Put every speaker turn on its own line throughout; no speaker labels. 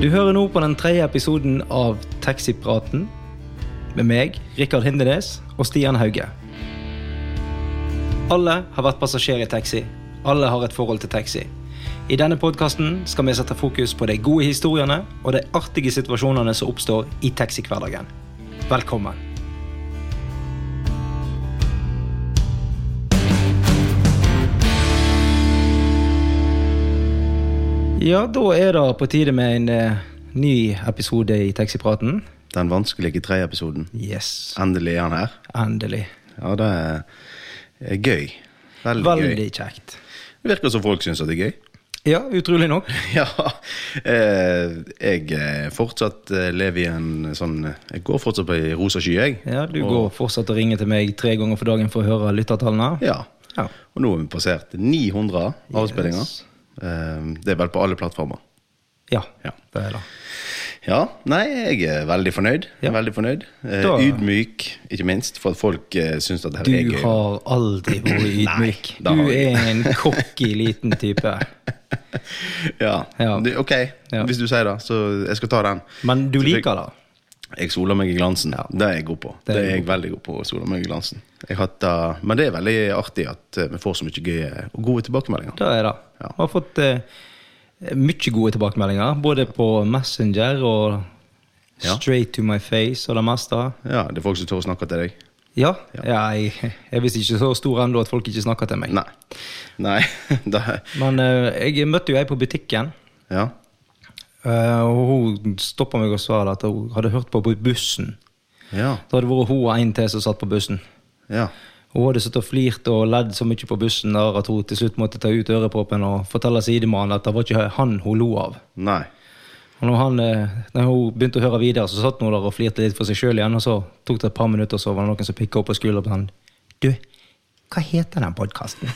Du hører nå på den tredje episoden av Taxipraten med meg, Rikard Hindenes og Stian Hauge. Alle har vært passasjer i taxi. Alle har et forhold til taxi. I denne podkasten skal vi sette fokus på de gode historiene og de artige situasjonene som oppstår i taxihverdagen. Velkommen. Ja, da er det på tide med en eh, ny episode i Taxipraten.
Den vanskelige tre-episoden.
Yes,
Endelig er han her.
endelig.
Ja, det er- er gøy. Veldig, gøy.
Veldig kjekt.
Det virker som folk syns at det er gøy.
Ja, utrolig nok.
Ja, eh, jeg eh, fortsatt eh, lever i en sånn Jeg går fortsatt på ei rosa sky, jeg.
Ja, Du
og,
går fortsatt og ringer til meg tre ganger for dagen for å høre lyttertallene?
Ja.
Ja.
Og nå har vi passert 900 avspillinger.
Yes.
Eh, det er vel på alle plattformer.
ja.
Ja.
Det er det.
Ja, nei, jeg er veldig fornøyd.
Ja.
Veldig fornøyd. Eh,
Da-
Ydmyk, ikke minst, for at folk eh, syns at dette er
Du
gøy.
har aldri vært ydmyk.
Nei, det
Du
har jeg
er en cocky liten type.
Ja,
Ja.
Du, ok,
Ja.
hvis du sier det, så jeg skal ta den.
Men du liker det.
Jeg soler meg i glansen. Det er jeg god på.
Det
Det
er
er jeg veldig god på å sole meg i glansen. Jeg har hatt, eh, men det er veldig artig at eh, vi får så mye gøye og gode tilbakemeldinger.
Det er det.
Ja.
Jeg har fått eh, mye gode tilbakemeldinger, både på Messenger og
Ja.
straight to my face og det meste.
Ja, Det er folk som tør å snakke til deg.
Ja, ja jeg, jeg er visst ikke så stor ennå at folk ikke snakker til meg.
Nei. Nei. det er-
Men eh, jeg møtte jo ei på butikken.
ja.
Eh, og hun stoppa meg og sa at hun hadde hørt på på bussen.
Ja.
Det hadde vært hun og en til som satt på bussen.
Ja.
Hun hadde sittet og flirt og ledd så mye på bussen der at hun til slutt måtte ta ut øreproppen og fortelle sidemannen at det var ikke han hun lo av.
Nei.
Og når, han, eh, når hun begynte å høre videre, så satt hun der og flirte litt for seg sjøl igjen. Og så tok det et par minutter, og så var det noen som pikka opp på skulderen på han. Du, hva heter den podkasten?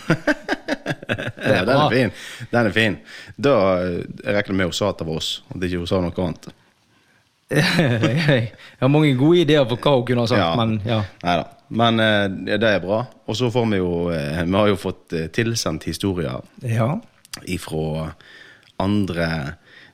Ja, den
bra.
er fin. Den er fin. Da eh, jeg regner med hun sa at det var oss, og at ikke hun sa noe annet.
jeg har mange gode ideer for hva hun kunne ha sagt, men ja.
Neida. Men eh, det er bra. Og så får vi jo eh, Vi har jo fått eh, tilsendt historier
ja.
ifra andre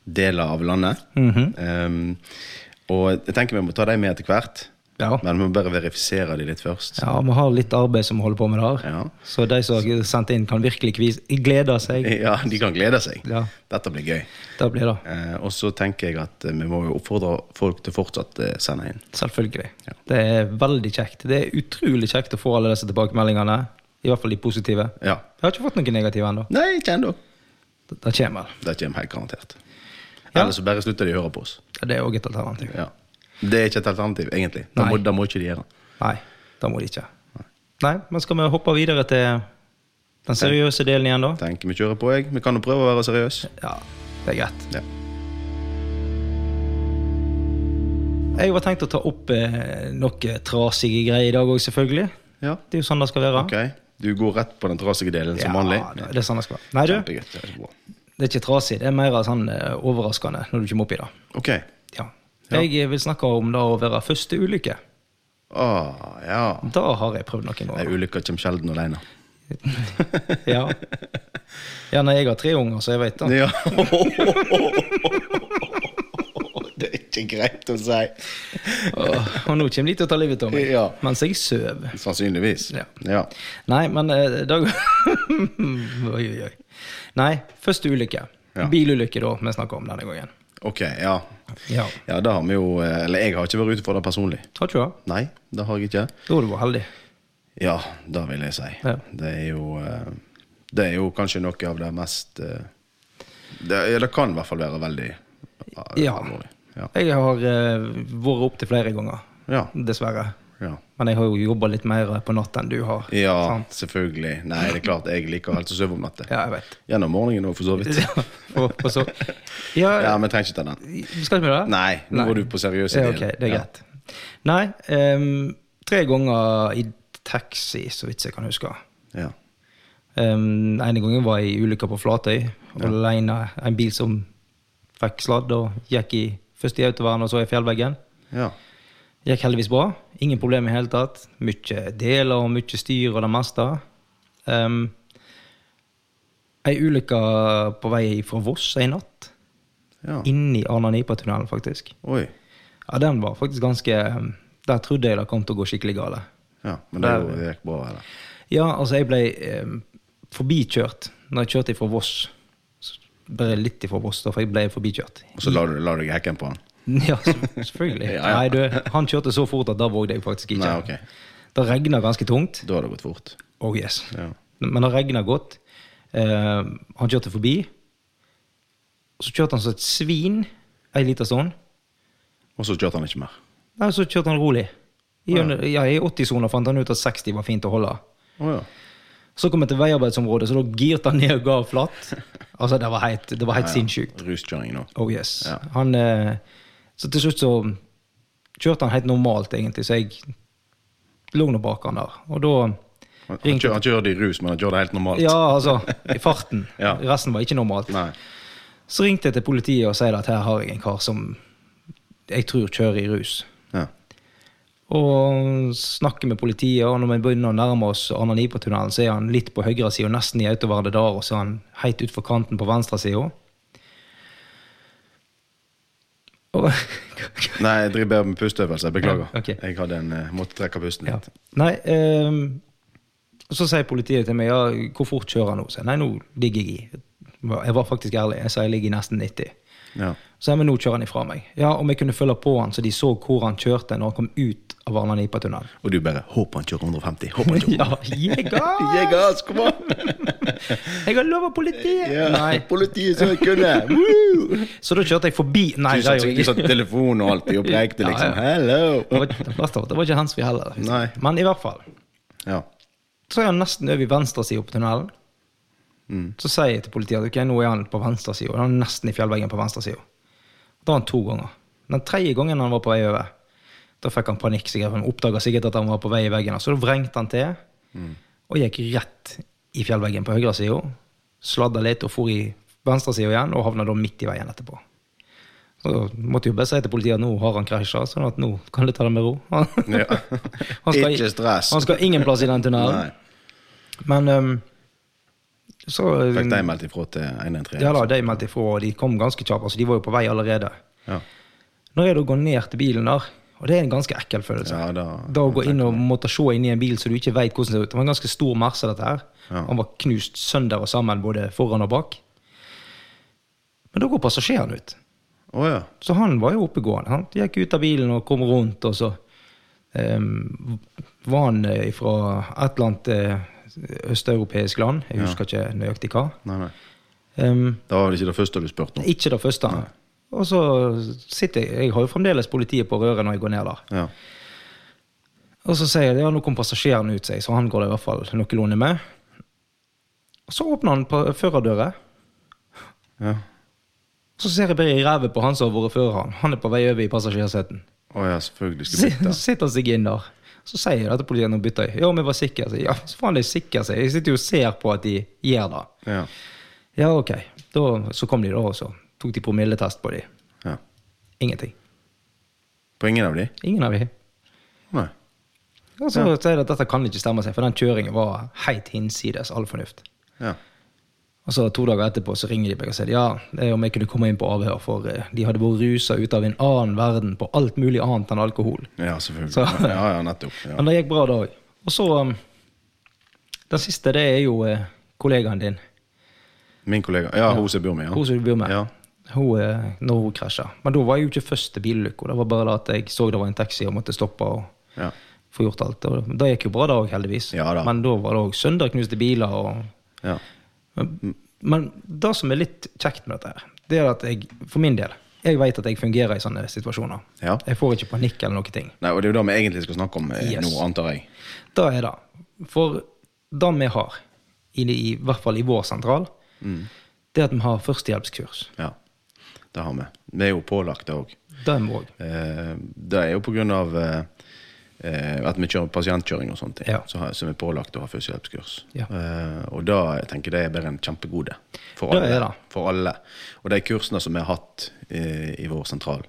deler av landet.
Mm. Mhm.
um, og jeg tenker vi må ta dem med etter hvert,
Ja.
men vi må bare verifisere dem litt først.
Ja, vi har litt arbeid som vi holder på med der.
Ja.
Så de som har sendt inn, kan virkelig kvis- glede seg.
Ja, De kan glede seg.
Ja.
Dette blir gøy.
Det blir det.
Eh, og så tenker jeg at eh, vi må jo oppfordre folk til fortsatt eh, sende inn.
Selvfølgelig.
Ja.
Det er veldig kjekt. Det er utrolig kjekt å få alle disse tilbakemeldingene. I hvert fall de positive.
Ja.
Jeg har ikke fått noen negative ennå.
Nei, ikke ennå.
Det det kommer.
Det kommer helt garantert.
Ja.
Eller så bare slutter de å høre på oss.
Det er òg et alternativ.
Ja. Det er ikke et alternativ, egentlig. Da
Nei.
må, da må ikke de gjøre det.
Nei, det må de ikke. Nei, men skal vi hoppe videre til den seriøse delen igjen, da?
Tenker vi kjører på, jeg. Vi kan jo prøve å være seriøse.
Ja, det er greit.
Ja.
Jeg var tenkt å ta opp eh, noe trasige greier i dag òg, selvfølgelig.
ja.
Det er jo sånn det skal være.
Ok, du går rett på den trasige delen som
ja,
vanlig.
det, det er sånn det skal være. Nei, du,
Kjempegodt, det er bra.
det er ikke trasig. Det er mer sånn eh, overraskende når du kommer opp i det.
Ok.
Ja.
Ja.
Jeg eh, vil snakke om det å være første ulykke.
Ah, ja.
Da har jeg prøvd noe
Ei
nå.
ulykke kommer sjelden alene.
Ja. ja, når jeg har tre unger, så jeg vet det.
Ja. det er ikke greit å si.
Og nå kommer de til å ta livet av meg
Ja.
mens jeg sover.
Sannsynligvis.
Ja.
Ja.
Nei, men eh, da Oi, oi, oi. Nei, første ulykke.
Ja.
Bilulykke, da, vi snakker om denne gangen.
Ok, ja.
Ja.
Ja, da har vi jo eh, Eller jeg har ikke vært ute for det personlig.
Har ikke du det?
Nei, det har jeg ikke.
Da har du vært heldig.
Ja, det vil jeg si.
Ja.
Det er jo eh, Det er jo kanskje noe av det mest eh, Det, ja, det kan i hvert fall være veldig eh,
Ja.
alvorlig. Ja.
Jeg har eh, vært opp til flere ganger,
Ja.
dessverre.
ja.
Men jeg har jo jobba litt mer på natt enn du har.
Ja,
Sant?
selvfølgelig. Nei, det er klart jeg liker helst å sove om natta.
Ja, jeg vet.
Gjennom morgenen òg, for så vidt.
og, og så Ja,
Ja, men trenger ikke ta den.
vi skal ikke med det?
Nei, nå var du på seriøse
Ja,
delen.
ok, det er
Ja.
greit. Nei, ehm, tre ganger i taxi, så vidt jeg kan huske.
Ja.
Um, ene gangen var jeg i ulykka på Flatøy. Alene. En bil som fikk sladd, og gikk i, først i autovern og så i fjellveggen.
ja.
Gikk heldigvis bra. Ingen problemer i hele tatt. Mye deler og mye styr og det meste. Um, ei ulykke på vei fra Voss en natt.
Ja.
Inni Arna-Nipa-tunnelen, faktisk.
Oi.
Ja, den var faktisk ganske ehm, Der trodde jeg det kom til å gå skikkelig gale.
Ja, men det, det gikk bra, eller?
Ja, altså, jeg ble eh, forbikjørt når jeg kjørte ifra Voss. Så Bare litt ifra Voss, da, for jeg ble forbikjørt.
Og så la du, la du hekken på han?
Ja, så- selvfølgelig.
Ja, ja.
Nei, du, han kjørte så fort at da vågde jeg faktisk ikke.
Nei, ok.
Det regna ganske tungt.
Da har det gått fort.
Oh yes.
Ja.
Men det regna godt. Eh, han kjørte forbi. Så kjørte han som et svin ei lita stund.
Og så kjørte han ikke mer.
Nei, så kjørte han rolig. I, ja, I 80-sona fant han ut at 60 var fint å holde.
Å ja.
Så kom jeg til veiarbeidsområdet, så da girte han ned og ga flatt. Altså, det var helt, det var helt sinnssykt.
Ruskjøring nå.
Oh yes.
Ja.
Han, eh, så til slutt så kjørte han helt normalt, egentlig, så jeg lå nå bak han der. Og da
Han, han,
ringte
kjør, han kjørte i rus, men han kjørte helt normalt.
Ja, altså, i farten.
Ja.
Resten var ikke normalt.
Nei.
Så ringte jeg til politiet og sa at her har jeg en kar som jeg tror kjører i rus.
Ja.
Og snakker med politiet, og når vi begynner å nærme oss Arnanipa-tunnelen, så er han litt på høyre side, og nesten i autovernet der, og så er han helt utfor kanten på venstre side. Og,
Nei, jeg driver bare med pusteøvelser. Beklager.
Ja, ok.
Jeg hadde en, eh, måtte trekke pusten
ja.
litt.
Nei, ehm, så sier politiet til meg, ja, hvor fort kjører han nå? Så jeg, nei, nå ligger jeg i. Jeg var faktisk ærlig, jeg sa jeg ligger i nesten 90.
Ja.
Så jeg, men nå kjører han ifra meg. Ja, om jeg kunne følge på han, så de så hvor han kjørte når han kom ut av Arnanipa-tunnelen.
Og du bare 'Håper han kjører 150'. Håper han kjører
Ja, jeger!
Gi gass, kom an!
Jeg har lov av politiet!
Ja,
Nei.
Politiet som jeg kunne! Woo!
Så da kjørte jeg forbi Nei,
Du
det
sånn-
gjorde
satt, du
jeg ikke.
satt telefonen og alltid og prekte,
Ja,
liksom.
ja. Det
Hello!
var, det var- det var ikke handsfree heller.
Nei.
Men i hvert fall.
Ja.
Så er han nesten over i venstre side på tunnelen.
Mm.
Så sier jeg til politiet at ok, nå er han på venstre side, og han er nesten i fjellveggen på venstre side. Da var han to ganger. Den tredje gangen han var på vei over, da fikk han panikk. sikkert, for Han oppdaga sikkert at han var på vei i veggen, så da vrengte han til
Mm.
og gikk rett i fjellveggen på høyre side. Sladda litt og for i venstre side igjen, og havna da midt i veien etterpå. Så måtte jeg jo bare si til politiet at nå har han krasja, sånn at nå kan du ta det med ro.
Ja.
Han skal-
Ikke stress.
Han skal ingen plass i den tunnelen.
Nei.
Men ehm, så
Fikk de meldt ifra til 113?
Ja da, de meldte ifra, og de kom ganske kjapt. Altså, de var jo på vei allerede.
Ja.
Når jeg da går ned til bilen der, og det er en ganske ekkel følelse
Ja, da,
Da å gå inn og måtte se inn i en bil så du ikke veit hvordan det ser ut. Det var en ganske stor Merce, dette her.
Ja.
Han var knust sønder og sammen, både foran og bak. Men da går passasjeren ut.
Å ja.
Så han var jo oppegående. Han gikk ut av bilen og kom rundt, og så ehm, var han eh, fra et eller annet eh, østeuropeisk land. Jeg husker ikke nøyaktig hva.
Nei, nei.
Ehm,
Det var vel ikke det første du spurte om?
ikke det første. Og så sitter jeg Jeg har jo fremdeles politiet på røret når jeg går ned der.
Ja.
Og så sier jeg ja, nå kom passasjeren ut, seg, så han går det i hvert fall noenlunde med. Og så åpner han på førerdøra,
ja.
og så ser jeg bare i rævet på han som har vært fører han. Han er på vei over i passasjerseten.
Å ja, selvfølgelig.
Så
Skal bytte.
sitter han seg inn der. Så sier jeg dette politiet, nå bytter jeg. Ja, vi var sikre. sier jeg. Ja, så faen, de er sikre, sier jeg. Jeg sitter jo og ser på at de gjør det.
Ja.
Ja, ok. Da, så kom de da, og så tok de promilletest på de.
ja.
Ingenting.
På ingen av de?
Ingen av de.
Nei.
Og så sier de at dette kan ikke stemme seg, for den kjøringen var heit hinsides all fornuft.
Ja.
Og så to dager etterpå så ringer de meg og sier ja, det er om jeg kunne komme inn på avhør, for eh, de hadde vært rusa ut av en annen verden på alt mulig annet enn alkohol.
ja, selvfølgelig.
Så-
Ja, ja, nettopp. Ja.
Men det gikk bra da òg. Og så um, Den siste, det er jo eh, kollegaen din.
Min kollega Ja, hun som bor med, ja.
Hun som du bor med.
Ja.
Hun, eh, når hun krasja. Men da var jeg jo ikke først til bilulykka. Det var bare det at jeg så det var en taxi og måtte stoppe og
Ja.
få gjort alt. Og det gikk jo bra da òg, heldigvis.
Ja da.
Men da var det òg sønderknuste biler og
ja.
men, men det som er litt kjekt med dette her, det er at jeg, for min del, jeg vet at jeg fungerer i sånne situasjoner.
Ja.
Jeg får ikke panikk eller noen ting.
Nei, og det er jo det vi egentlig skal snakke om eh,
Yes.
nå, antar jeg.
Det er det. For det vi har, i, i hvert fall i vår sentral,
Mm.
det er at vi har førstehjelpskurs.
Ja. Det har vi. Vi er jo pålagt det òg.
Det er vi òg.
Eh, Det er jo på grunn av eh, eh, at vi kjører pasientkjøring og sånne ting,
Ja.
så, har- som er pålagt å ha førstehjelpskurs.
Ja.
Eh, Og da jeg tenker jeg det er bare en kjempegode for
Det
alle,
er det.
for alle. Og de kursene som vi har hatt eh, i vår sentral,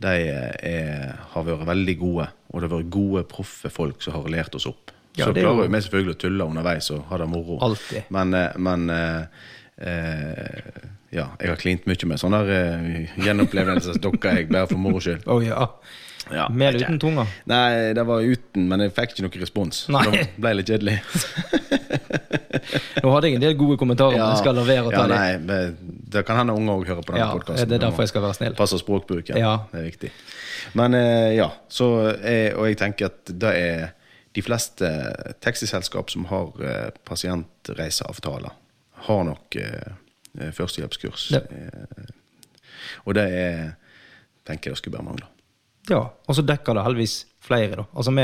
de er, har vært veldig gode. Og det har vært gode, proffe folk som har lært oss opp.
Ja,
så
det er jo-
klarer jo vi selvfølgelig å tulle underveis og ha det moro.
Alltid.
Men, eh, men eh, eh, Ja, jeg har klint mye med sånne eh, gjenopplevelsesdokker jeg bærer for moro skyld.
Å Oh, ja.
Ja,
Mel
vet ikke.
uten tunga.
Nei, det var uten, men jeg fikk ikke noen respons. Så
Nei.
Det ble litt kjedelig.
Nå hadde jeg en del gode kommentarer, men jeg skal la være å ta
ja,
dem.
nei, men det kan hende unger òg hører på denne
Ja,
podkasten.
det er derfor jeg skal være snill.
Passer språkbruken.
Ja.
Det er viktig. Men eh, ja, så eh, Og jeg tenker at det er de fleste taxiselskap som har eh, pasientreiseavtaler, har nok eh, eh, førstehjelpskurs.
Ja.
Eh, og det er tenker jeg det skulle bare mangle.
Ja, og så dekker det heldigvis flere, da. Altså, vi,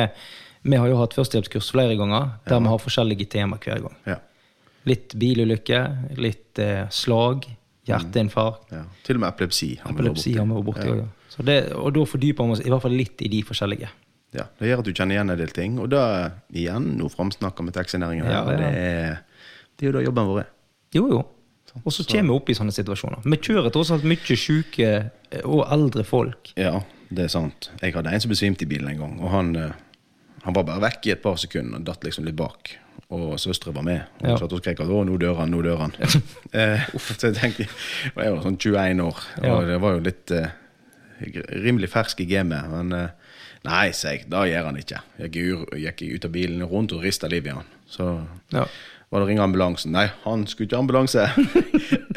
vi har jo hatt førstehjelpskurs flere ganger, der vi har forskjellige tema hver gang.
Ja.
Litt bilulykke, litt eh, slag, hjerteinfarkt.
Ja. Til og med epilepsi. har vi vært
Epilepsi
borti.
har vi vært borti òg, Mm. ja. Så det, og da fordyper vi oss i hvert fall litt i de forskjellige.
Ja, Det gjør at du kjenner igjen en del ting. Og da, igjen, nå framsnakker vi taxinæringen. her,
Ja,
og
ja.
Det, er, det er jo da jobben vår er.
Jo, jo. Og så kommer vi opp i sånne situasjoner. Vi kjører tross alt mye sjuke eh, og eldre folk.
Ja, det er sant. Jeg hadde en som besvimte i bilen en gang. Og han, eh, han var bare vekk i et par sekunder og datt liksom litt bak. Og søstre var med. Og
Ja.
hun satt og skrek at 'å, nå dør han', 'nå dør han'. eh, så jeg tenkte, og Jeg var sånn 21 år, og
Ja.
det var jo litt eh, rimelig fersk i gamet. Men eh, nei, sa jeg, det gjør han ikke. Jeg gikk, ur, gikk ut av bilen rundt og rista livet i han. Så
Ja.
var det ringe ambulansen. Nei, han skulle ikke ha ambulanse.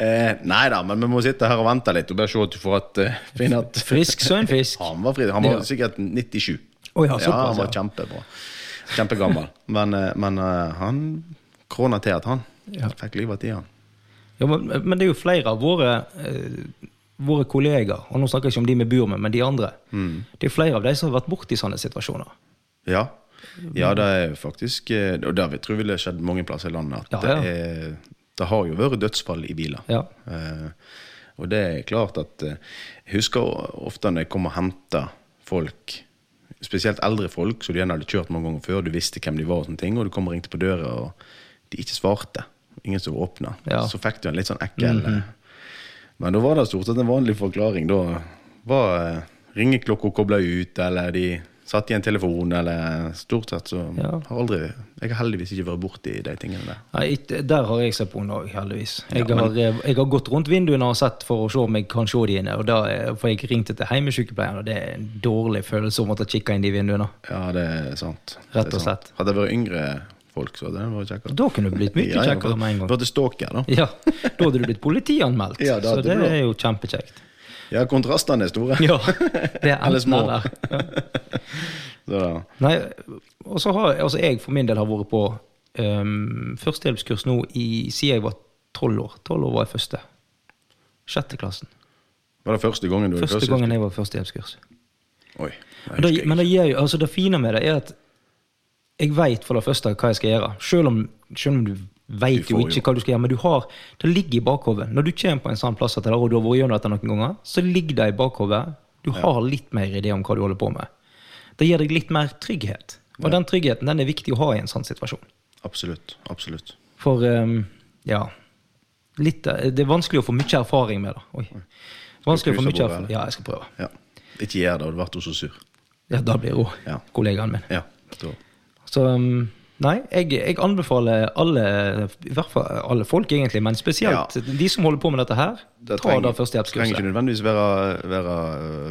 eh, nei da, men vi må sitte her og vente litt og bare se at du får et eh, finne at
Frisk sønn fisk.
han var fri. Han var
Ja.
sikkert 97.
Å ja, såpass,
han var
ja.
kjempebra. Kjempegammel. Men, eh, men eh, han krona til at han
Ja.
fikk livet til han.
Ja, men, men det er jo flere av våre, eh, våre kollegaer, og nå snakker jeg ikke om de vi bor med, men de andre. Det er jo flere av de som har vært borti sånne situasjoner.
Ja. ja, det er faktisk eh, Og det tror jeg ville skjedd mange plasser i landet. At
Ja, ja.
Det, er, det har jo vært dødsfall i biler.
Ja.
Eh, og det er klart at eh, Jeg husker ofte når jeg kom og henta folk, spesielt eldre folk, som du gjerne hadde kjørt mange ganger før, du visste hvem de var, og sånne ting, og du kom og ringte på døra, og de ikke svarte. Ingen som åpna.
Ja. Mhm.
Så fikk du en litt sånn ekkel eh, Men da var det stort sett en vanlig forklaring. Da var eh, ringeklokka kobla ut, eller de satt i en telefon, eller Stort sett så
Ja.
har aldri Jeg har heldigvis ikke vært borti de tingene der.
Nei, ikke- der har jeg sett på henne òg, heldigvis. Jeg, har, eh, jeg har gått rundt vinduene og sett for å se om jeg kan se de inne. Og da eh, får jeg ringt etter heimesykepleieren, og det er en dårlig følelse å måtte kikke inn de vinduene.
Ja, det er sant.
Rett
Det er
og
sant.
slett.
Hadde det vært yngre folk, så hadde det vært kjekkere.
Da kunne det blitt mye kjekkere med en gang.
Burde stalker, da.
Ja, Da hadde du blitt politianmeldt,
Ja, da
så
hadde
det
du det.
er jo kjempekjekt.
Ja, kontrastene er store.
Ja, det er
Eller
enten
små.
eller. Ja.
Så, da-
Nei, og så har altså jeg for min del har vært på ehm, førstehjelpskurs nå i, siden jeg var tolv år. Tolv år var jeg første. Sjette klassen.
var det første gangen du
Første gangen jeg var på førstehjelpskurs.
Oi.
Men det, men det, gir jo, altså det fine med det er at jeg veit for det første hva jeg skal gjøre. Selv om, selv om du veit
Du
jo
får
ikke
jo.
hva du skal gjøre, men du har, det ligger i bakhodet. Når du kommer på en sånn plass at det, og du har vært gjennom dette noen ganger, så ligger det i bakhodet. Du har litt mer idé om hva du holder på med. Det gir deg litt mer trygghet. Og den tryggheten den er viktig å ha i en sånn situasjon.
Absolutt. Absolutt.
For ehm, ja litt, eh, Det er vanskelig å få mye erfaring med det. Oi. Vanskelig å få mye
knuse bordet,
erfaring.
eller?
Ja, jeg skal prøve.
Ja. Ikke gjør det, og du ble så sur.
Ja, Da blir jo
Ja.
kollegaen min.
Ja. Da.
Så um, nei, jeg, jeg anbefaler alle, i hvert fall alle folk egentlig, men spesielt de som holder på med dette her, ta
Det trenger,
da
trenger ikke
førstehjelpskurset.
nødvendigvis være, være,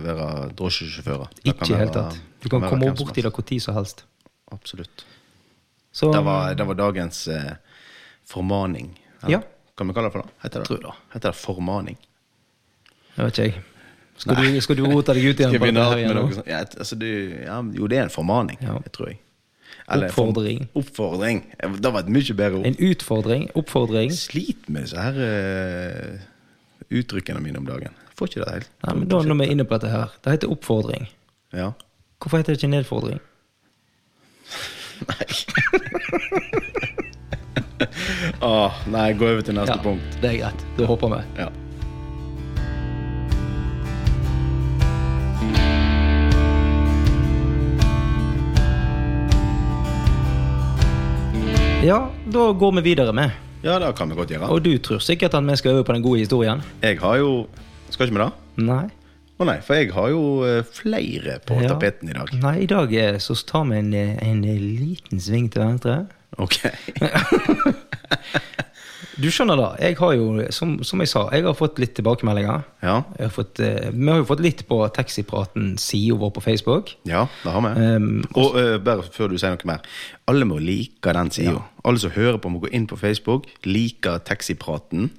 være drosjesjåfører. Det
Ikke
kan
i det hele
være-
tatt. Du kan
være
komme
hvem som
borti det
helst.
hvor tid som helst.
Absolutt.
Så
Det var, det var dagens eh, formaning. eller?
Ja.
Kan vi kalle det for det? Heter det,
Tror det.
Heter det formaning?
jeg vet ikke jeg. Skal du, skal du rote deg ut igjen?
Skal
på
vi begynne
dette her
alt med
igjen
noe
nå?
sånt? Ja, et- altså, du, ja, jo, det er en formaning,
Ja.
jeg tror jeg. form-
Oppfordring.
oppfordring. Det var et mye bedre ord.
En utfordring, oppfordring.
Jeg sliter med disse her eh, uttrykkene mine om dagen. Jeg får ikke det helt.
Nei, men da når vi er inne på dette her, det heter oppfordring.
Ja.
Hvorfor heter det ikke nedfordring?
Åh, Ah, nei, gå over til neste
Ja,
punkt.
det er greit. Da hopper vi.
Ja.
Ja, da går vi videre med.
ja, det kan vi godt gjøre.
Og du tror sikkert at vi skal øve på den gode historien?
Jeg har jo Skal ikke vi det?
Nei.
Å nei, for jeg har jo eh, flere på
Ja.
tapeten i dag.
Nei, i dag eh, så tar vi en, eh, en liten sving til venstre.
Ok.
Du skjønner det. Jeg har jo, som, som jeg sa, jeg har fått litt tilbakemeldinger.
Ja.
Jeg har fått, eh, vi har jo fått litt på Taxipraten-sida vår på Facebook. Ehm,
Ja, det har vi. og eh, bare før du sier noe mer. Alle må like den sida. Alle som hører på, må gå inn på Facebook, like taxipraten.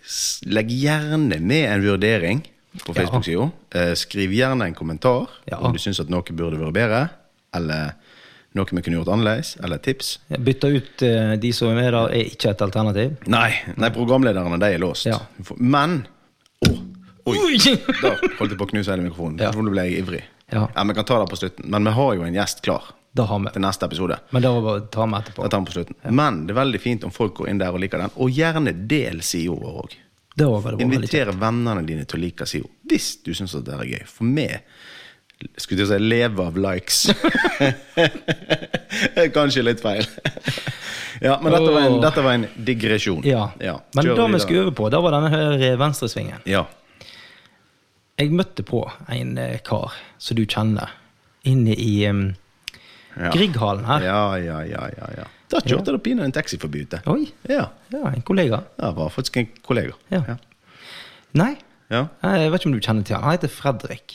S- Legg gjerne med en vurdering på
Ja.
Facebook-sida. Eh, skriv gjerne en kommentar
Ja.
om du syns at noe burde vært bedre, eller noe vi kunne gjort annerledes, eller tips.
Bytte ut eh, de som er med der, er ikke et alternativ.
Nei, nei programlederne de er låst.
Ja.
Men Å, Oi!
Oi!
Da holdt jeg på å knuse hele mikrofonen.
Ja.
Nå ble jeg ivrig.
Ja.
ja, Vi kan ta det på slutten, men vi har jo en gjest klar
Det har vi.
til neste episode.
Men det var bare å ta med etterpå.
Dette er på slutten. Men det er veldig fint om folk går inn der og liker den. Og gjerne del sida vår òg.
Det var veldig bra. veldig kjekt.
Inviter vennene dine til å like sida hvis du syns det er gøy. For vi skulle til å si lever av likes. Kanskje litt feil. Ja, men dette var en, dette var en digresjon.
Ja. Men det
kjør
vi
videre.
skulle øve på, det var denne her eh, venstresvingen.
Ja.
Jeg møtte på en eh, kar som du kjenner, inne i ehm, em,
Ja.
Grieghallen her.
ja, ja, ja, ja, ja. Da kjørte det pinadø en taxi forbi ute.
Oi.
Ja.
Ja, en kollega.
Det var faktisk en kollega.
Ja.
Ja.
Nei,
ja.
jeg vet ikke om du kjenner til han. Han heter Fredrik.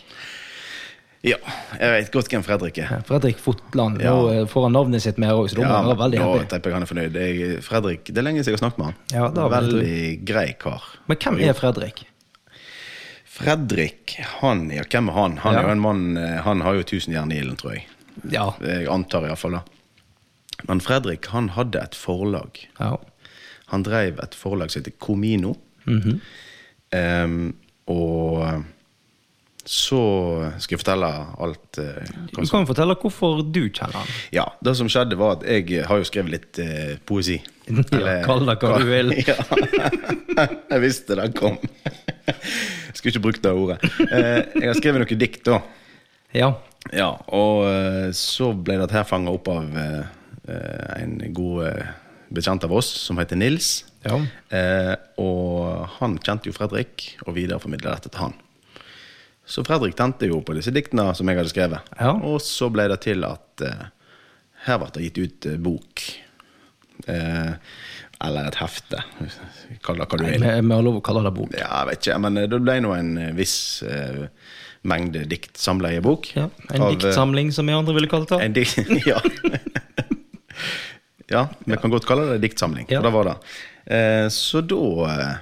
Ja, Jeg vet godt hvem Fredrik er.
Ja, Fredrik Fotland.
Ja.
Nå eh, får han navnet sitt med her òg, så da må han
men
være veldig
nå
happy.
tipper jeg han er fornøyd. Jeg, Fredrik, Det er lenge siden jeg har snakket med han.
Ja, det har vi
veldig grei kar.
Men hvem er Fredrik?
Fredrik, han, ja, hvem er han? Han
Ja.
er jo en mann, eh, han har jo tusen jern i ilden, tror jeg.
Ja.
Jeg antar iallfall det. Men Fredrik han hadde et forlag.
ja.
Han drev et forlag som heter Comino.
Mhm.
Em, og så skal jeg fortelle alt eh,
Du kan jo fortelle hvorfor du kjenner han.
Ja, det som skjedde var at jeg har jo skrevet litt eh, poesi.
Ja, kall det hva du vil.
Ja. Jeg visste det kom. Skulle ikke brukt det ordet. Eh, jeg har skrevet noen dikt, da.
Ja.
Ja, og eh, så ble dette her fanga opp av eh, eh, en god eh, bekjent av oss som heter Nils.
Ja.
Eh, og han kjente jo Fredrik og videreformidla dette til han. Så Fredrik tente jo på disse diktene som jeg hadde skrevet.
Ja.
Og så ble det til at eh, her ble det gitt ut eh, bok. Eh, eller et hefte. Kall det hva du
Vi
vil.
vi har lov å kalle det bok.
Ja, jeg vet ikke, men eh, det ble nå en eh, viss eh, mengde dikt samla i en bok.
Ja. En
Av, eh,
diktsamling, som vi andre ville kalt det.
en dikt, ja. ja, vi kan godt kalle det en diktsamling,
Ja.
for det var det. Eh, så da eh,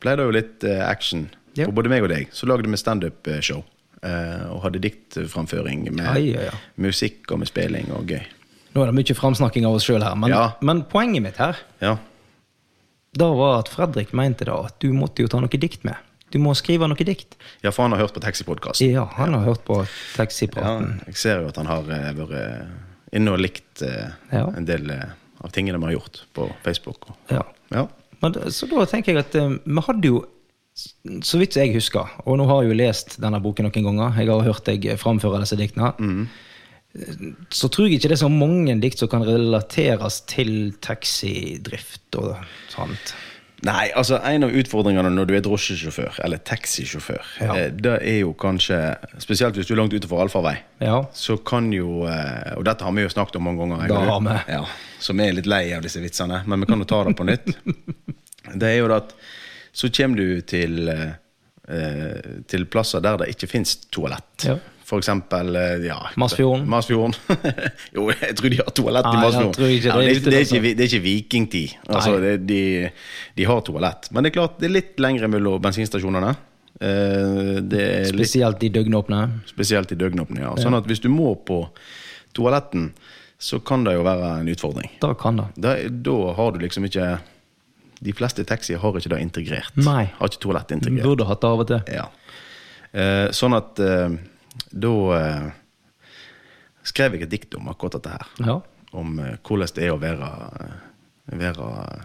ble det jo litt eh, action
Ja.
på både meg og deg. Så lagde vi standup-show eh, og hadde diktframføring med
Ja, ja, ja.
musikk og med spilling og gøy.
Nå er det mye framsnakking av oss sjøl her, men,
Ja.
men poenget mitt her
Ja,
da var at Fredrik mente da at du måtte jo ta noe dikt med. Du må skrive noe dikt.
ja for han har hørt på Taxipodkast.
Ja, han har hørt på
Ja,
taxipraten.
jeg ser jo at han har eh, vært inne og likt eh,
Ja.
en del eh, av tingene vi har gjort på Facebook. Og,
Ja.
ja.
Men, da- så da tenker jeg at eh, vi hadde jo, s- så vidt jeg husker, og nå har jeg jo lest denne boken noen ganger, jeg har hørt deg eh, framføre disse diktene, Eh, så tror jeg ikke det er så mange dikt som kan relateres til taxidrift og sånt.
Nei, altså En av utfordringene når du er drosjesjåfør, eller taxisjåfør,
Ja.
eh, det er jo kanskje Spesielt hvis du er langt utenfor allfarvei.
Ja.
Så kan jo eh, Og dette har vi jo snakket om mange ganger. jeg
Det
og du.
har vi.
Ja, så vi er litt lei av disse vitsene, men vi kan jo ta det på nytt. det er jo det at så kommer du til, eh, eh, til plasser der det ikke fins toalett.
Ja.
For eksempel eh, ja,
Masfjorden.
Masfjorden. jo, jeg tror de har toalett i
Nei, jeg
Masfjorden.
tror ikke det.
Ja, men det, er- det, er
Utenfor.
ikke, vi- det er ikke vikingtid. Altså,
Nei.
det, de, de har toalett. Men det er klart, det er litt lengre mellom bensinstasjonene. Eh, det er litt
Spesielt de døgnåpne.
Spesielt i døgnåpne, ja. Sånn at hvis du må på toaletten, så kan det jo være en utfordring.
Da kan det.
Da, da har du liksom ikke De fleste taxier har ikke det integrert.
Nei.
Har ikke toalett integrert.
Burde hatt det av og til.
Ja. Eh, sånn at eh, da eh, skrev jeg et dikt om akkurat dette her.
Ja.
Om eh, hvordan det er å være, eh, være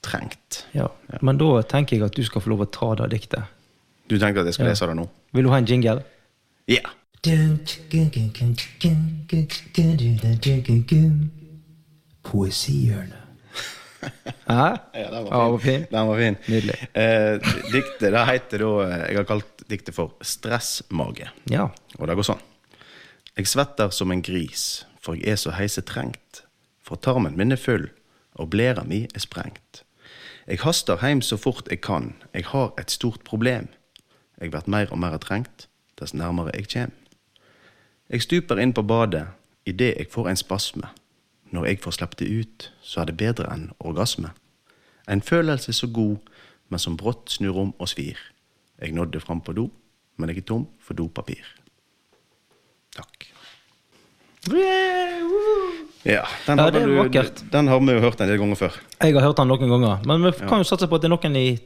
trengt.
ja. Men da tenker jeg at du skal få lov å ta det diktet.
Du tenkte at jeg skal lese det nå?
Vil du ha en jingle?
Ja.
Poesihjørnet. Hæ?
Ja, den
Ja,
var fin. Den var fin.
Nydelig.
Eh, diktet det heter da eh, Jeg har kalt diktet for 'Stressmage'.
Ja.
Og det går sånn. Jeg svetter som en gris, for jeg er så heisetrengt. For tarmen min er full, og blæra mi er sprengt. Jeg haster hjem så fort jeg kan. Jeg har et stort problem. Jeg blir mer og mer trengt dess nærmere jeg kjem. Jeg stuper inn på badet idet jeg får en spasme. Når jeg får slippe det ut, så er det bedre enn orgasme. En følelse så god, men som brått snur om og svir. Jeg nådde fram på do, men jeg er tom for dopapir. Takk. Ja, den,
Ja,
har
det er
vel du,
vakkert.
den har vi jo hørt en del ganger før.
Jeg har hørt den noen ganger, men vi kan jo satse på at det er noen i,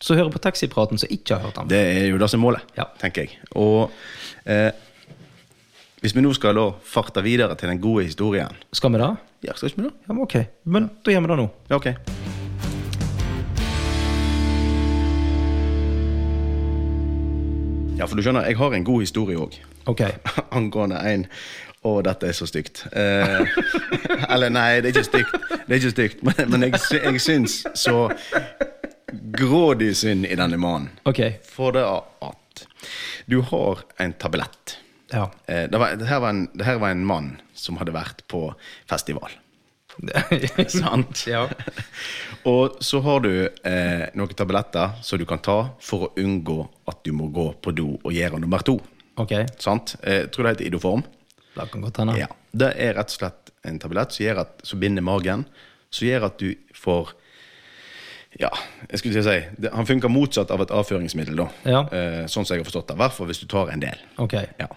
som hører på taxipraten, som ikke har hørt den.
Det er jo det som er målet,
Ja.
tenker jeg. Og eh, hvis vi nå skal da farte videre til den gode historien
Skal vi det?
Ja, skal ikke vi det?
Ja, men ok. Men da gjør vi det nå.
Ja, ok. Ja, for du skjønner, jeg har en god historie òg.
Ok.
Angående en Å, dette er så stygt. Eh, eller nei, det er ikke stygt. Det er ikke stygt, men, men jeg, sy- jeg syns så grådig synd i denne mannen.
Ok.
For det at du har en tablett.
Ja.
Eh, det, var, det, her var en, det her var en mann som hadde vært på festival. Sant?
Ja.
Og så har du eh, noen tabletter som du kan ta for å unngå at du må gå på do og gjøre nummer to.
Ok.
Sant? Eh, tror det heter Idoform.
Det kan godt hende.
Ja. Det er rett og slett en tablett som, gjør at, som binder magen, som gjør at du får Ja, jeg skulle til å si det, Han funker motsatt av et avføringsmiddel, da.
Ja.
Eh, sånn som jeg har forstått det. I hvert fall hvis du tar en del.
Ok.
Ja.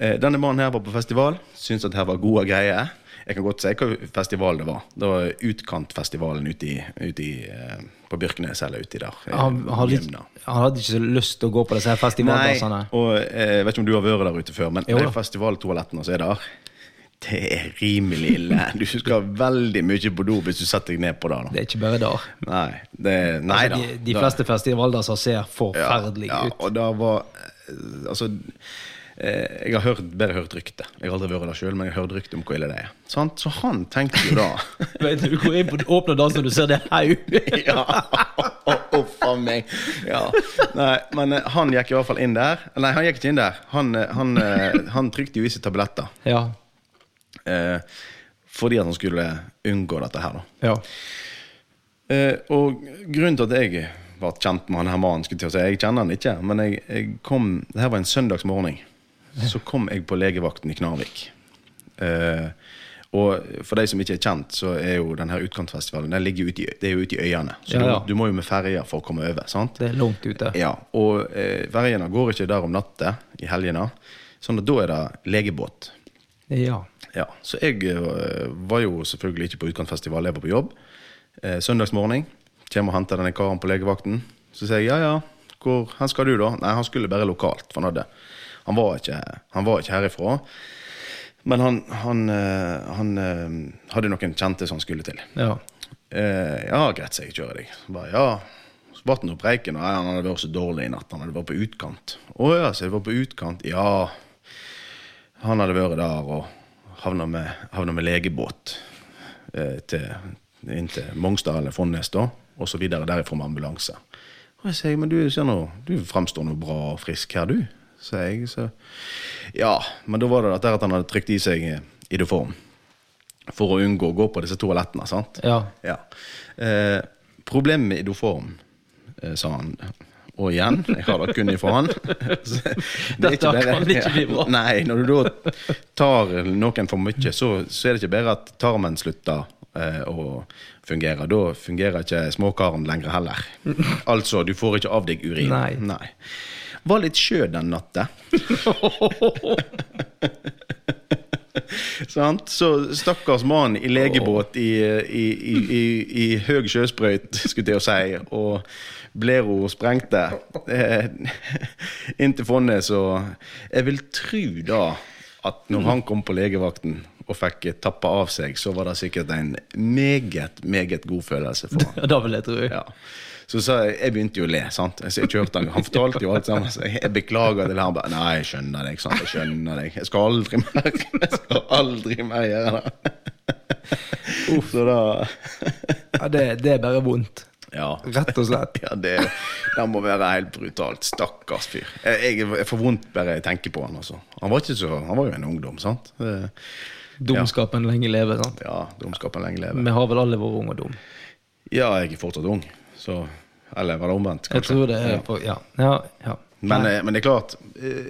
Eh, Denne mannen her var på festival, syntes at her var gode greier. Jeg kan godt si hva festival det var. Det var Utkantfestivalen ute, i, ute i, eh, på Byrkenes eller uti der. eh,
Han, hadde ikke,
Jemna.
han hadde ikke så lyst til å gå på disse her
Nei,
festivaldansene.
og eh, jeg vet ikke om du har vært der ute før, men
Jo
de
da.
festivaltoalettene som er der, det er rimelig ille. Du skal veldig mye på do hvis du setter deg ned på det. Da.
Det er ikke bare der.
Nei, det, nei da.
De, de
Det-
fleste festivaldanser ser forferdelige
ja,
ut.
Og det var eh, Altså eh, jeg har hørt, bare hørt rykte. Jeg har aldri vært der sjøl, men jeg har hørt rykte om hvor ille det er. Sant? Så han tenkte jo da
Vet du, du går inn på den åpne dansen, du ser det haug.
Ja, Å, å, faen meg. Ja. Nei, men eh, han gikk i hvert fall inn der. Nei, han gikk ikke inn der. Han, eh, han, eh, han trykte jo i seg tabletter.
Ja.
eh, fordi at han skulle unngå dette her, da.
ja.
Eh, og grunnen til at jeg ble kjent med han her mannen, skulle jeg til å si, jeg kjenner han ikke, men jeg, jeg kom, det her var en søndagsmorgen, så kom jeg på legevakten i Knarvik. Eh, og for de som ikke er kjent, så er jo denne utkantfestivalen den ligger jo ute i, det er jo ute i øyene. Så
Ja, ja.
Du, du må jo med ferja for å komme over. sant?
Det er langt ute.
Ja, Og eh, ferjene går ikke der om natta i helgene, sånn at da er det legebåt.
Ja.
Ja, så jeg eh, var jo selvfølgelig ikke på utkantfestival, jeg var på jobb. Eh, søndagsmorgen kommer og henter denne karen på legevakten. Så sier jeg ja, ja, hvor hen skal du da? Nei, han skulle bare lokalt, for han hadde Han var ikke, han var ikke herifra. Men han, han, eh, han eh, hadde noen kjente som han skulle til.
Ja.
Eh, ja, greit, sier jeg kjører deg. Så bare, ja. Så ble han opp reiken, og nei, han hadde vært så dårlig i natt. Han hadde vært på utkant. Å ja, så det var på utkant. Ja. Han hadde vært der og havna med, havna med legebåt eh, til, inn til Mongstad eller Fonnes, da. Og så videre derifra med ambulanse. Og jeg sier, men du, ser nå, du fremstår nå bra og frisk her, du, sier jeg. Så, ja, men da var det dette her at han hadde trykt i seg eh, idoform for å unngå å gå på disse toalettene, sant?
ja.
Ja. Eh, problemet med idoform, eh, sa han. Og igjen, jeg har det kun ifra han. Så det er
Dette
ikke bare-
kan ikke bli bra.
Nei, når du da tar noen for mye, så, så er det ikke bare at tarmen slutter eh, å fungere. Da fungerer ikke småkaren lenger heller. Altså, du får ikke av deg urin.
Nei.
Var litt sjø den natta. Sant? Så stakkars mann i legebåt i, i, i, i, i høy sjøsprøyt, skulle jeg til å si, og blera sprengte eh, inn til fondet, så Jeg vil tro da at når han kom på legevakten og fikk tappa av seg, så var det sikkert en meget, meget god følelse for han.
Ja, Det vil jeg tro.
Ja. Så sa jeg, jeg begynte jo å le, sant. Så jeg kjørte han, han fortalte jo alt sammen. Så jeg, jeg beklager til han. bare, Nei, jeg skjønner deg, sant. Jeg skjønner deg. Jeg skal aldri mer Jeg skal aldri mer gjøre det. Så da
Ja, det, det er bare vondt.
Ja.
Rett og slett.
ja det, det må være helt brutalt. Stakkars fyr. Jeg, jeg, jeg får vondt bare jeg tenker på han, altså. Han var, ikke så, han var jo en ungdom, sant. Eh,
Dumskapen lenge leve. sant?
Ja, dumskapen lenge leve.
Vi har vel alle vært unge og dum.
Ja, jeg er fortsatt ung, så Eller var det omvendt,
Jeg
kanskje?
tror det er på, ja. ja, ja.
Men, eh, men det er klart, eh,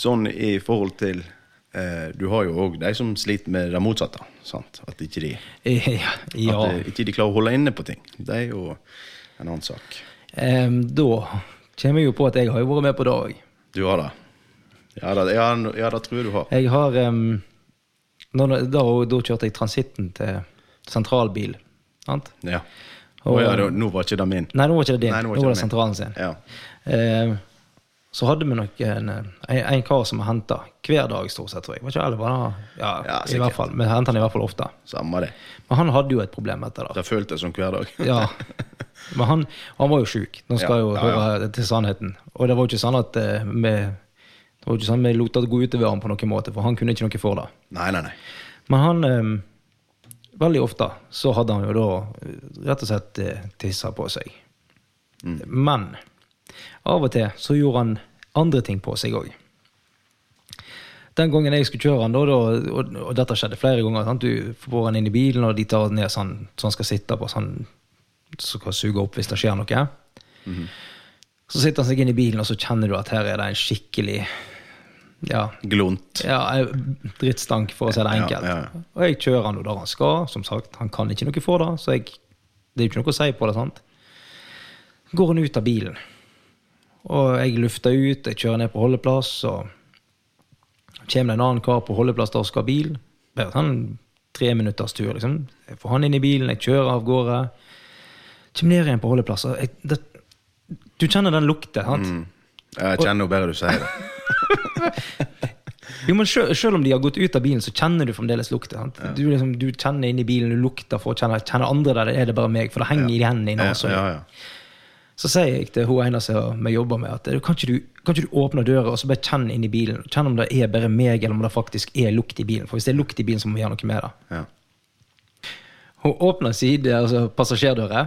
sånn i forhold til eh, Du har jo òg de som sliter med det motsatte. Sant? At ikke de,
ja, ja.
at eh, ikke de klarer å holde inne på ting. Det er jo en annen sak.
Em, da kommer jeg jo på at jeg har jo vært med på det òg.
Du har det? Ja, det, ja, n- ja, det tror jeg du har.
Jeg har em, når, da, da kjørte jeg transitten til sentralbil. Sant?
Ja. Å ja, da, nå var ikke det min.
Nei, nå var ikke det din.
Nei, nå
nå
var
var, det
ikke det
sentralen
min.
sin.
Ja.
Em, så hadde vi nok en, en, en kar som vi henta hver dag, stort sett. tror jeg. Var ikke alle var det? Ja,
Ja,
i
sikkert.
hvert fall. Vi henta han i hvert fall ofte.
Samme det.
Men han hadde jo et problem etter det.
Det føltes som hver dag.
Ja. Men han, han var jo sjuk. Nå skal
Ja,
jeg jo
ja, ja.
høre til sannheten. Og det var jo ikke sånn at eh, vi det var jo ikke sånn at vi lot det gå utover ham på noen måte, for han kunne ikke noe for det.
Nei, nei, nei.
Men han eh, Veldig ofte så hadde han jo da eh, rett og slett eh, tissa på seg. Men av og til så gjorde han andre ting på seg òg. Den gangen jeg skulle kjøre han, da, da og, og dette skjedde flere ganger sant? Du får han inn i bilen, og de tar han ned sånn, så han skal sitte på, så han så kan suge opp hvis det skjer noe. Så sitter han seg inn i bilen, og så kjenner du at her er det en skikkelig ja,
Glunt.
ja, jeg- drittstank, for å si det enkelt.
Ja, ja.
Og jeg kjører han jo der han skal. Som sagt, han kan ikke noe for det, så jeg, det er jo ikke noe å si på det. sant? Går han ut av bilen, og jeg lufter ut, jeg kjører ned på holdeplass, og kommer det en annen kar på holdeplass der og skal ha bil. Bare sånn tre minutters tur, liksom. Jeg får han inn i bilen, jeg kjører av gårde. Kommer ned igjen på holdeplass, og jeg, det, du kjenner den lukten, sant?
Jeg kjenner jo bare du sier det.
Jo, men selv, selv om de har gått ut av bilen, så kjenner du fremdeles lukten. Sant? Du, liksom, du kjenner inni bilen, du lukter for å kjenne kjenner andre der, det er det bare meg, for det henger i altså. hendene dine.
Ja,
også.
ja, ja.
Så sier jeg til hun ene som vi jobber med, at du, kan, ikke du, kan ikke du åpne døra og så bare kjenne inni bilen? Kjenn om det er bare meg, eller om det faktisk er lukt i bilen. For hvis det er lukt i bilen, så må vi gjøre noe med det.
Ja.
Hun åpner side, altså passasjerdøra,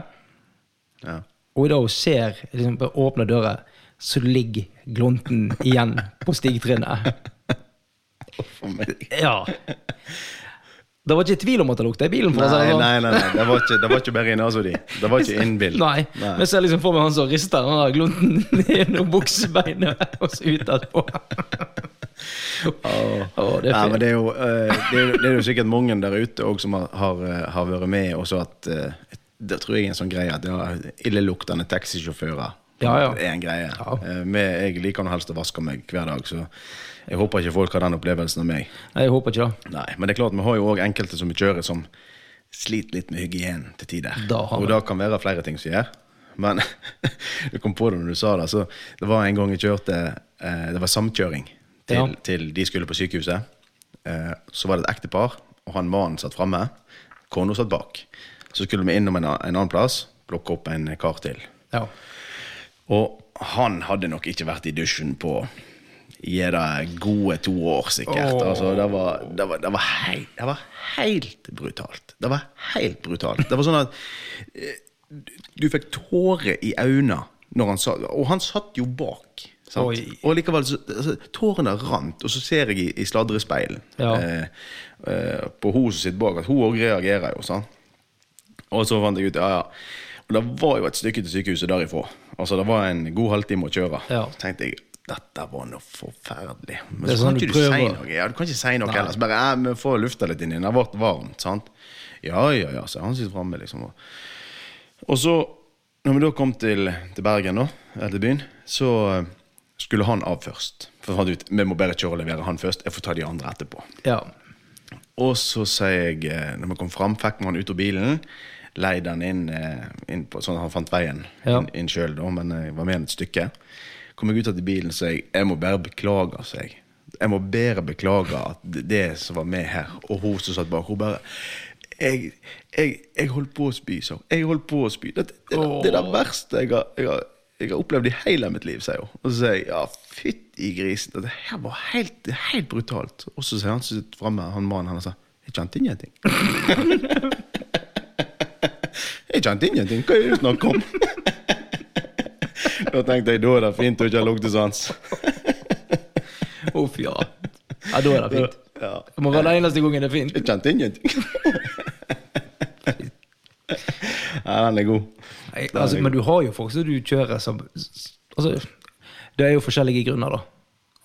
Ja.
og da hun ser, liksom, bare åpner døra, så ligger glonten igjen på stigtrinnet.
For meg.
Ja. Det var ikke tvil om at det lukta i bilen. for å si det
Nei,
sånn.
nei, nei, nei. Det, var ikke, det var ikke bare i nesa di. Det var ikke innbilt.
Nei. Men så er jeg liksom for meg han som rister den der glunten gjennom buksebeinet og så ut etterpå. Å, det er
Nei,
fint.
men det er, jo, eh, det, er, jo- det er jo sikkert mange der ute også som har, har, eh, har vært med, og så at eh, Det tror jeg er en sånn greie at det er illeluktende taxisjåfører.
Ja, ja.
Det er en greie.
Ja.
Eh, men jeg liker nå helst å vaske meg hver dag, så jeg håper ikke folk har den opplevelsen av meg.
Nei, Jeg håper ikke det.
Nei, Men det er klart, vi har jo òg enkelte som vi kjører, som sliter litt med hygienen til tider.
Da har
og
vi.
det kan være flere ting som gjør. Men jeg kom på det når du sa det. Så det var en gang jeg kjørte eh, Det var samkjøring til,
Ja.
til de skulle på sykehuset. Eh, så var det et ektepar, og han mannen satt framme. Kona satt bak. Så skulle vi innom en, a- en annen plass, plukke opp en kar til.
Ja.
Og han hadde nok ikke vært i dusjen på ja, det er gode to år, sikkert. Altså, det, var, det, var, det, var hei, det var helt brutalt. Det var helt brutalt. Det var sånn at eh, du fikk tårer i øynene når han sa Og han satt jo bak. Sant?
Oi.
Og likevel, så, altså, tårene rant, og så ser jeg i, i sladrespeilen
Ja.
eh, eh, på hun som sitter bak, at hun òg reagerer jo. sant? Og så fant jeg ut, ja, ja. Og det var jo et stykke til sykehuset derifra. Altså, det var en god halvtime å kjøre.
Ja.
Så tenkte jeg, dette var noe forferdelig. Men
Det er
så
sånn
kan
du
ikke du si
prøver.
noe. Ja, du kan ikke si noe ellers. Bare, ja, vi får lufta litt inni. Det har vært varmt, sant? Ja, ja, ja, så han sitter fremme, liksom. Og, og så, når vi da kom til, til Bergen da, eller til byen, så eh, skulle han av først. For jeg fant ut, vi må bare kjøre og levere han først. Jeg får ta de andre etterpå.
ja.
Og så sier jeg, eh, når vi kom fram, fikk vi han ut av bilen. Leide han inn, eh, inn på, sånn at han fant veien
Ja.
inn, inn sjøl, da, men jeg var med han et stykke. Kom jeg ut av bilen, så jeg jeg må bare beklage, sa jeg. Jeg må bare beklage at det- det som var med her, og hun som satt bak, hun bare jeg, jeg, jeg holdt på å spy, sa hun. Jeg holdt på å spy. Det, det, det er det verste jeg har, jeg, har, jeg har opplevd i hele mitt liv, sier hun. Og så sier jeg ja, fytti grisen, det her var helt, helt brutalt. Og så sier han som sitter framme, han mannen, han sa jeg kjente ingenting. jeg kjente ingenting, hva er det du snakker om? Da tenkte jeg da er det fint å ikke ha luktesans.
Uff, ja. Ja, da er det fint.
Ja.
Det må være den eneste gangen det er fint.
Jeg kjente ingenting. Nei, den er god.
Nei, altså, men du har jo folk som du kjører som altså, Det er jo forskjellige grunner, da.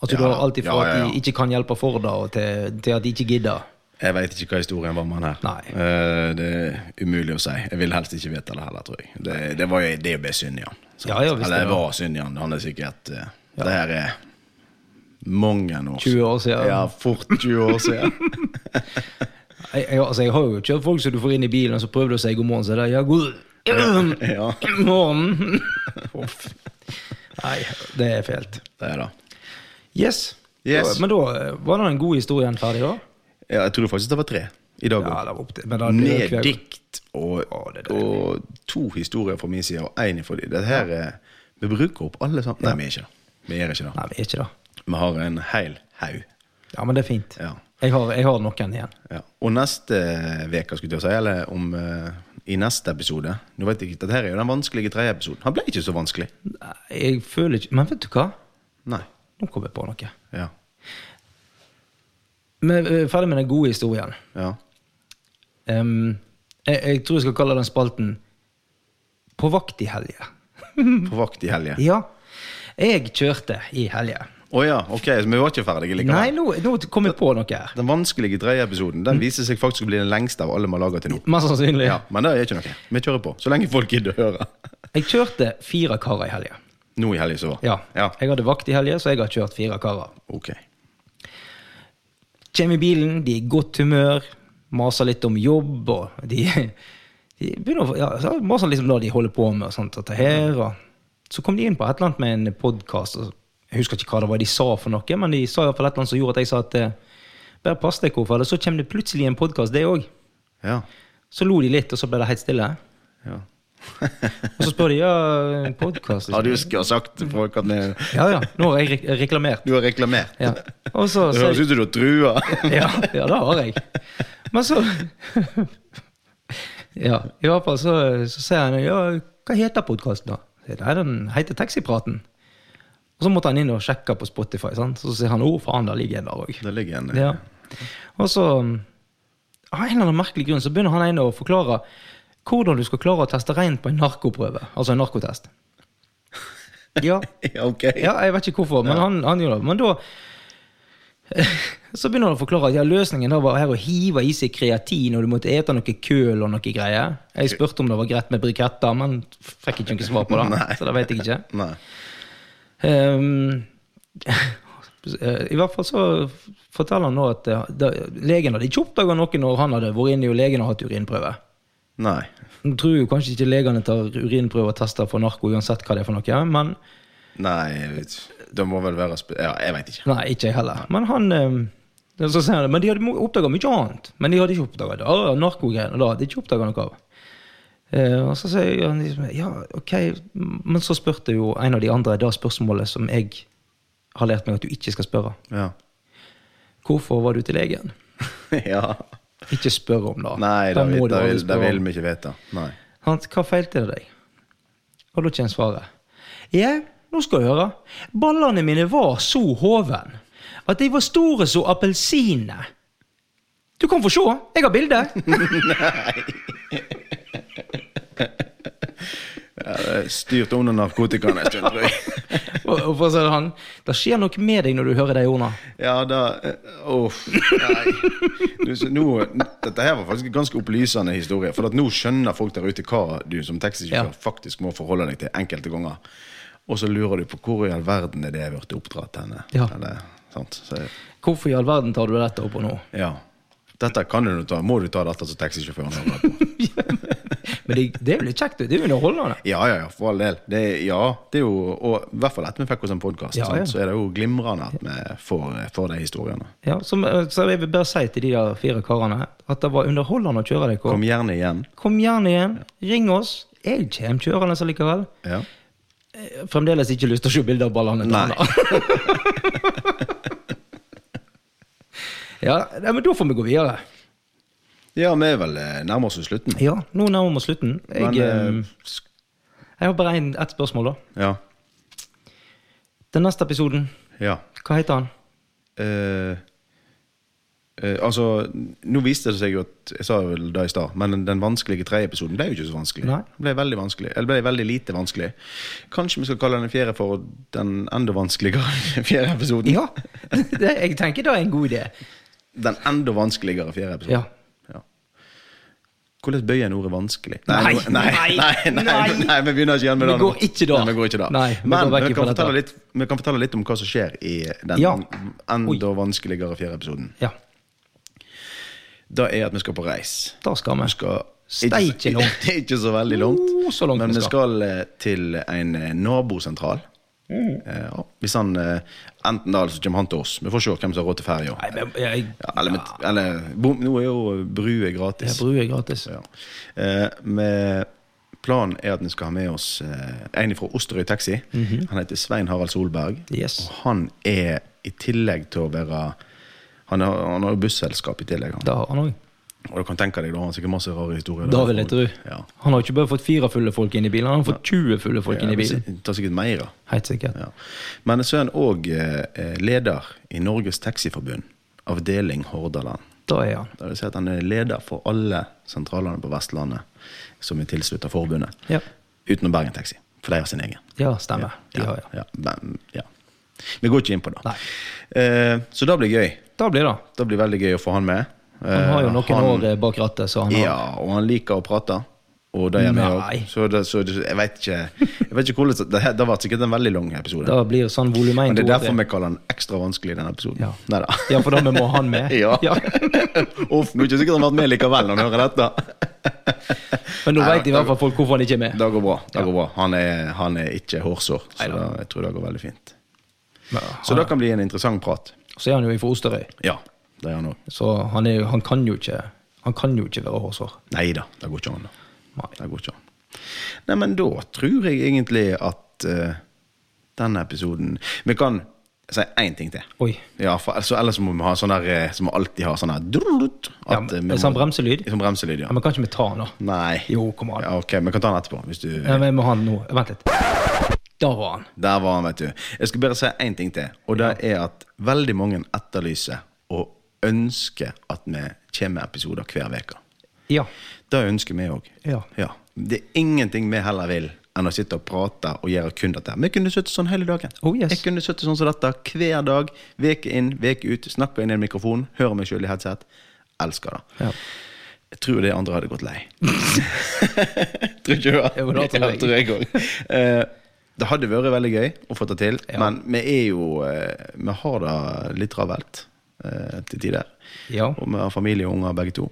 At du
Ja,
har alt ifra
ja, ja, ja.
at de ikke kan hjelpe Forda, og til, til at de ikke gidder.
Jeg veit ikke hva historien var med han her.
Nei.
Eh, det er umulig å si. Jeg vil helst ikke vite det heller, tror jeg. Det, det var jo det å bli synd i han. sant?
Ja, ja, visst
Eller
det
det
var.
var synd i han. Han er sikkert eh, Det her er mange år
20 år siden.
Ja, fort 20 år siden.
Jeg, jeg, altså, jeg har jo kjørt folk som du får inn i bilen, og så prøver du å si god morgen, så er det ja, god
ja,
god morgen. Uff. Nei, det er fælt.
det er det.
Yes.
Yes.
Da, men da eh, var det en god historie igjen ferdig, da?
Ja, jeg tror faktisk det var tre i dag
Ja,
òg.
det var opp til. Men da blir det
Med
hver gang.
dikt og,
Å, det er deilig.
og to historier fra min side og én fra dem. Dette her er Vi bruker opp alle sammen. Nei, vi er ikke det. Vi gjør ikke det.
Nei, vi er ikke det.
Vi har en hel haug.
Ja, men det er fint.
Ja.
Jeg har, jeg har noen igjen.
Ja. Og neste uke, skulle jeg til å si, eller om eh, i neste episode Nå vet jeg ikke, Dette her er jo den vanskelige tredje episoden. Han ble ikke så vanskelig.
Nei, Jeg føler ikke Men vet du hva?
Nei.
Nå kom jeg på noe.
Ja.
Vi er ferdig med den gode historien.
ja.
Ehm, jeg, jeg tror jeg skal kalle den spalten På vakt i helga.
På vakt i helga.
Ja. Jeg kjørte i helga.
Å ja, ok, så vi var ikke ferdige likevel.
Nei, nå, nå kom jeg på noe her.
Den vanskelige tredje episoden
Mm.
den viser seg faktisk å bli den lengste av alle vi har laga til nå.
Mest sannsynlig.
Ja, Men det er ikke noe. Vi kjører på. Så lenge folk gidder å høre.
Jeg kjørte fire karer i helga.
Nå i helga så var.
Ja.
ja.
Jeg hadde vakt i helga, så jeg har kjørt fire karer.
Ok.
Kjem i bilen, de er i godt humør, maser litt om jobb, og de, de begynner å ja, så maser litt om det de holder på med, og sånt, dette her, og så kom de inn på et eller annet med en podkast, og jeg husker ikke hva det var de sa for noe, men de sa i hvert fall et eller annet som gjorde at jeg sa at eh, bare pass deg, hvorfor, eller så kommer det plutselig en podkast, det òg.
Ja.
Så lo de litt, og så ble det helt stille.
ja.
Og så spør de ja, podkast.
ja du skulle ha sagt til folk at vi-
Ja, ja, nå har jeg re- reklamert.
du har reklamert.
Ja. Og så,
Det
så
høres ut som du har trua.
ja, ja, det har jeg. Men så Ja, i hvert fall så, så sier han ja, hva heter podkasten, da? Så sier jeg, Nei, den heter Taxipraten. Og så måtte han inn og sjekke på Spotify, sant? så sier han å, faen, der ligger en der òg.
Det ligger en
Ja. Og så Av en eller annen merkelig grunn så begynner han ene å forklare hvordan du skal klare å teste rein på en narkoprøve, altså en narkotest. Ja,
Ja, ok.
ja, jeg vet ikke hvorfor, men han, han gjorde det. Men da så begynner han å forklare at ja, løsningen da var her å hive i seg kreatin, og du måtte ete noe køl og noe greier. Jeg spurte om det var greit med briketter, men fikk ikke noe svar på det.
Nei.
Så det vet jeg ikke.
Nei.
Ehm, I hvert fall så forteller han nå at eh, da, legen hadde ikke oppdaga noe når han hadde vært inne i og legen har hatt urinprøve.
Nei.
Nå tror jo kanskje ikke legene tar urinprøve og tester for narko uansett hva det er for noe, men
Nei, jeg vet ikke. Det må vel være spe... Ja, jeg veit ikke.
Nei, ikke jeg heller. Men han eh, så sier han, det, Men de hadde oppdaga mye annet. Men de hadde ikke oppdaga det. Ah, narkogreiene da, hadde de ikke oppdaget noe av. Eh, og så sier han liksom Ja, ok. Men så spurte jo en av de andre det spørsmålet som jeg har lært meg at du ikke skal spørre.
Ja.
Hvorfor var du til legen?
ja.
Ikke spør om det.
Nei, det,
må
vil-
du
det,
aldri
vil, det
spørre om.
vil vi ikke vite. Nei.
Han, hva feilte det deg? Og da kommer svaret. Ja, nå skal du høre. Ballene mine var så hoven at de var store som appelsinene. Du kan få se. Jeg har bilde.
Ja, det er styrt under narkotikaen en stund, tror jeg.
og, og for å si det han, det skjer noe med deg når du hører de ordene.
Ja, da eh, Uff. nei. Du, så nå, dette her var faktisk en ganske opplysende historie. For at nå skjønner folk der ute hva du som taxisjåfør
Ja.
faktisk må forholde deg til enkelte ganger. Og så lurer du på hvor i all verden er det jeg ble oppdratt henne.
Ja.
Eller, sant? Så,
Hvorfor i all verden tar du dette opp og nå?
ja. Dette kan du nå ta. Må du ta dette som taxisjåføren hører på?
Men det, det er jo litt kjekt, det er jo underholdende.
Ja, ja, ja, for all del. Det, er- ja, det er jo, og i hvert fall etter vi fikk oss en podkast,
Ja, ja.
så er det jo glimrende at vi får, får de historiene.
Ja, så, så jeg vil bare si til de der fire karene at det var underholdende å kjøre deg.
Kom
Kom,
gjerne igjen.
kom gjerne igjen. Ring oss. Jeg kommer kjørende allikevel.
Ja.
fremdeles ikke lyst til å se bilder av ballene. til
Nei.
han da. ja, nei, men da får vi gå videre.
ja, vi er vel eh, nærmer oss jo slutten.
Ja, nå nærmer vi oss slutten. Jeg,
Men eh,
eh, jeg har bare en, ett spørsmål, da.
Ja.
Den neste episoden,
ja.
hva heter han?
Eh, Eh, altså, nå viste det seg jo at Jeg sa vel det i stad, men den vanskelige tredje episoden ble jo ikke så vanskelig.
Nei.
Den Ble veldig vanskelig Eller ble veldig lite vanskelig. Kanskje vi skal kalle den fjerde for den enda vanskeligere fjerde episoden?
Ja, det, jeg tenker det er en god idé.
Den enda vanskeligere fjerde episoden.
Ja.
Ja. Hvordan bøyer en ordet 'vanskelig'?
Nei,
nå- nei,
nei,
nei, nei,
nei.
nei, vi begynner ikke igjen med
Vi
det.
går ikke da.
Nei, vi går ikke da.
Nei, vi
Men
går vekk
vi kan,
ifra
fortelle
dette.
litt, vi kan fortelle litt om hva som skjer i den
Ja.
enda vanskeligere fjerde episoden.
ja.
Det er at vi skal på reis.
Da skal vi.
Vi skal
Steike langt.
ikke så veldig langt,
Oh, så langt
men
vi
vi skal eh, til en eh, nabosentral.
Mm.
Eh, ja. Hvis han eh, Enten da, eller så kommer han til oss. Vi får se hvem som har råd til ferja.
Nei, men jeg,
Ja, eller, eller bom, nå er jo brua gratis.
jeg bruer gratis.
Ja. Eh, med planen er at vi skal ha med oss eh, en fra Osterøy Taxi. Han heter Svein Harald Solberg.
Mhm. Yes.
Og han er, i tillegg til å være Han har, han har jo busselskap i tillegg. Han.
Det har han òg.
Og du kan tenke deg, da, han har sikkert masse rare historier.
Da vil jeg tro.
Ja.
Han har ikke bare fått fire fulle folk inn i bilen, han har fått 20 fulle folk inn i bilen.
Det tar sikkert mer. da.
Helt sikkert.
Ja. Men så er han òg eh, leder i Norges Taxiforbund, avdeling Hordaland.
Da er han.
Det vil si at han er leder for alle sentralene på Vestlandet som er tilslutta forbundet.
Ja.
Utenom Bergen Taxi, for de har sin egen.
Ja, stemmer. De har, ja.
ja. men- ja. Vi går ikke inn på det.
Nei.
Eh, så det blir gøy.
Da blir det.
Det blir veldig gøy å få han med.
Han har jo
Eh,
noen år eh, bak rattet, så han har
Ja, og han liker å prate. Og det gjør vi
Nei.
òg. Så, det, så det, jeg vet ikke Jeg vet ikke hvordan Det, det, her- det var sikkert en veldig lang episode.
Da blir det sånn volum 1,
Men
2
det er
og
derfor vi kaller den ekstra vanskelig, den episoden.
Ja.
Neida.
Ja, for da vi må ha han med.
Ja.
Ja.
Uff, nå er ikke sikkert han har vært med likevel når han hører dette.
Men nå
Nei,
vet i hvert fall folk hvorfor han ikke er med.
Det går bra. det går bra. Han er, han er ikke hårsår, så
Neida.
da, jeg tror det går veldig fint.
Men
Så
han-
det kan bli en interessant prat.
Så er han jo fra Osterøy,
Ja, det er han òg.
så han, er, jo- han kan jo ikke Han kan jo ikke være hårsår.
Nei da, det går ikke an. da.
Nei.
Det går ikke an. Nei, men da tror jeg egentlig at eh, denne episoden Vi kan si én ting til.
Oi.
Ja, for altså, Ellers må vi ha sånn der eh, som vi alltid har sånn her drullut,
Ja,
at, eh, vi
men
må-
sånn bremselyd?
Sånn bremselyd,
Ja,
ja.
men kan ikke vi ta han, da?
Nei.
Jo, kom an.
Ja, ok, Vi kan ta den etterpå. hvis du...
Ja, men jeg må ha han nå. Vent litt. Der var han.
Der var han, vet du. Jeg skal bare si én ting til. Og det er at veldig mange etterlyser og ønsker at vi kommer med episoder hver uke.
Ja.
Det ønsker vi òg.
Ja.
Det er ingenting vi heller vil enn å sitte og prate og gjøre kun dette. Vi kunne sittet sånn hele dagen.
Oh, yes.
Jeg kunne sittet sånn som dette hver dag. Veke inn, veke ut. Snakke inn i en mikrofon. Høre meg sjøl i headset. Elsker det.
Ja.
Jeg tror de andre hadde gått lei. tror ikke du det?
Jo, det tror jeg.
Ja, jeg òg. Eh, det hadde vært veldig gøy å få det til,
Ja.
men vi er jo eh, Vi har det litt travelt eh, til tider.
Ja.
Og vi har familie og unger, begge to.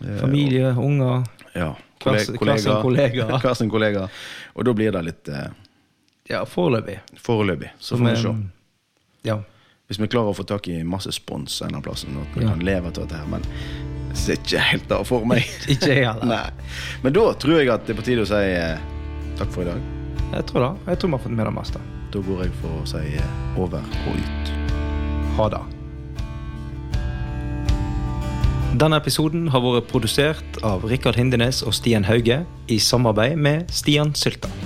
Eh,
Familie, unger
ja.
Hver sin- hver sin kollega.
Hver sin kollega. Og da blir det litt eh,
Ja, foreløpig.
foreløpig. Så får vi se.
Men, Ja.
Hvis vi klarer å få tak i masse spons en eller annen plass, sånn at vi
Ja.
kan leve av dette her, men jeg ser ikke helt det for meg.
Ikke jeg heller.
Nei. Men da tror jeg at det er på tide å si eh, takk for i dag.
Jeg tror det. Jeg tror vi har fått med det meste.
Da går jeg for å si eh, over og ut.
Ha det. Denne episoden har vært produsert av Rikard Hindenes og Stian Hauge i samarbeid med Stian Sylta.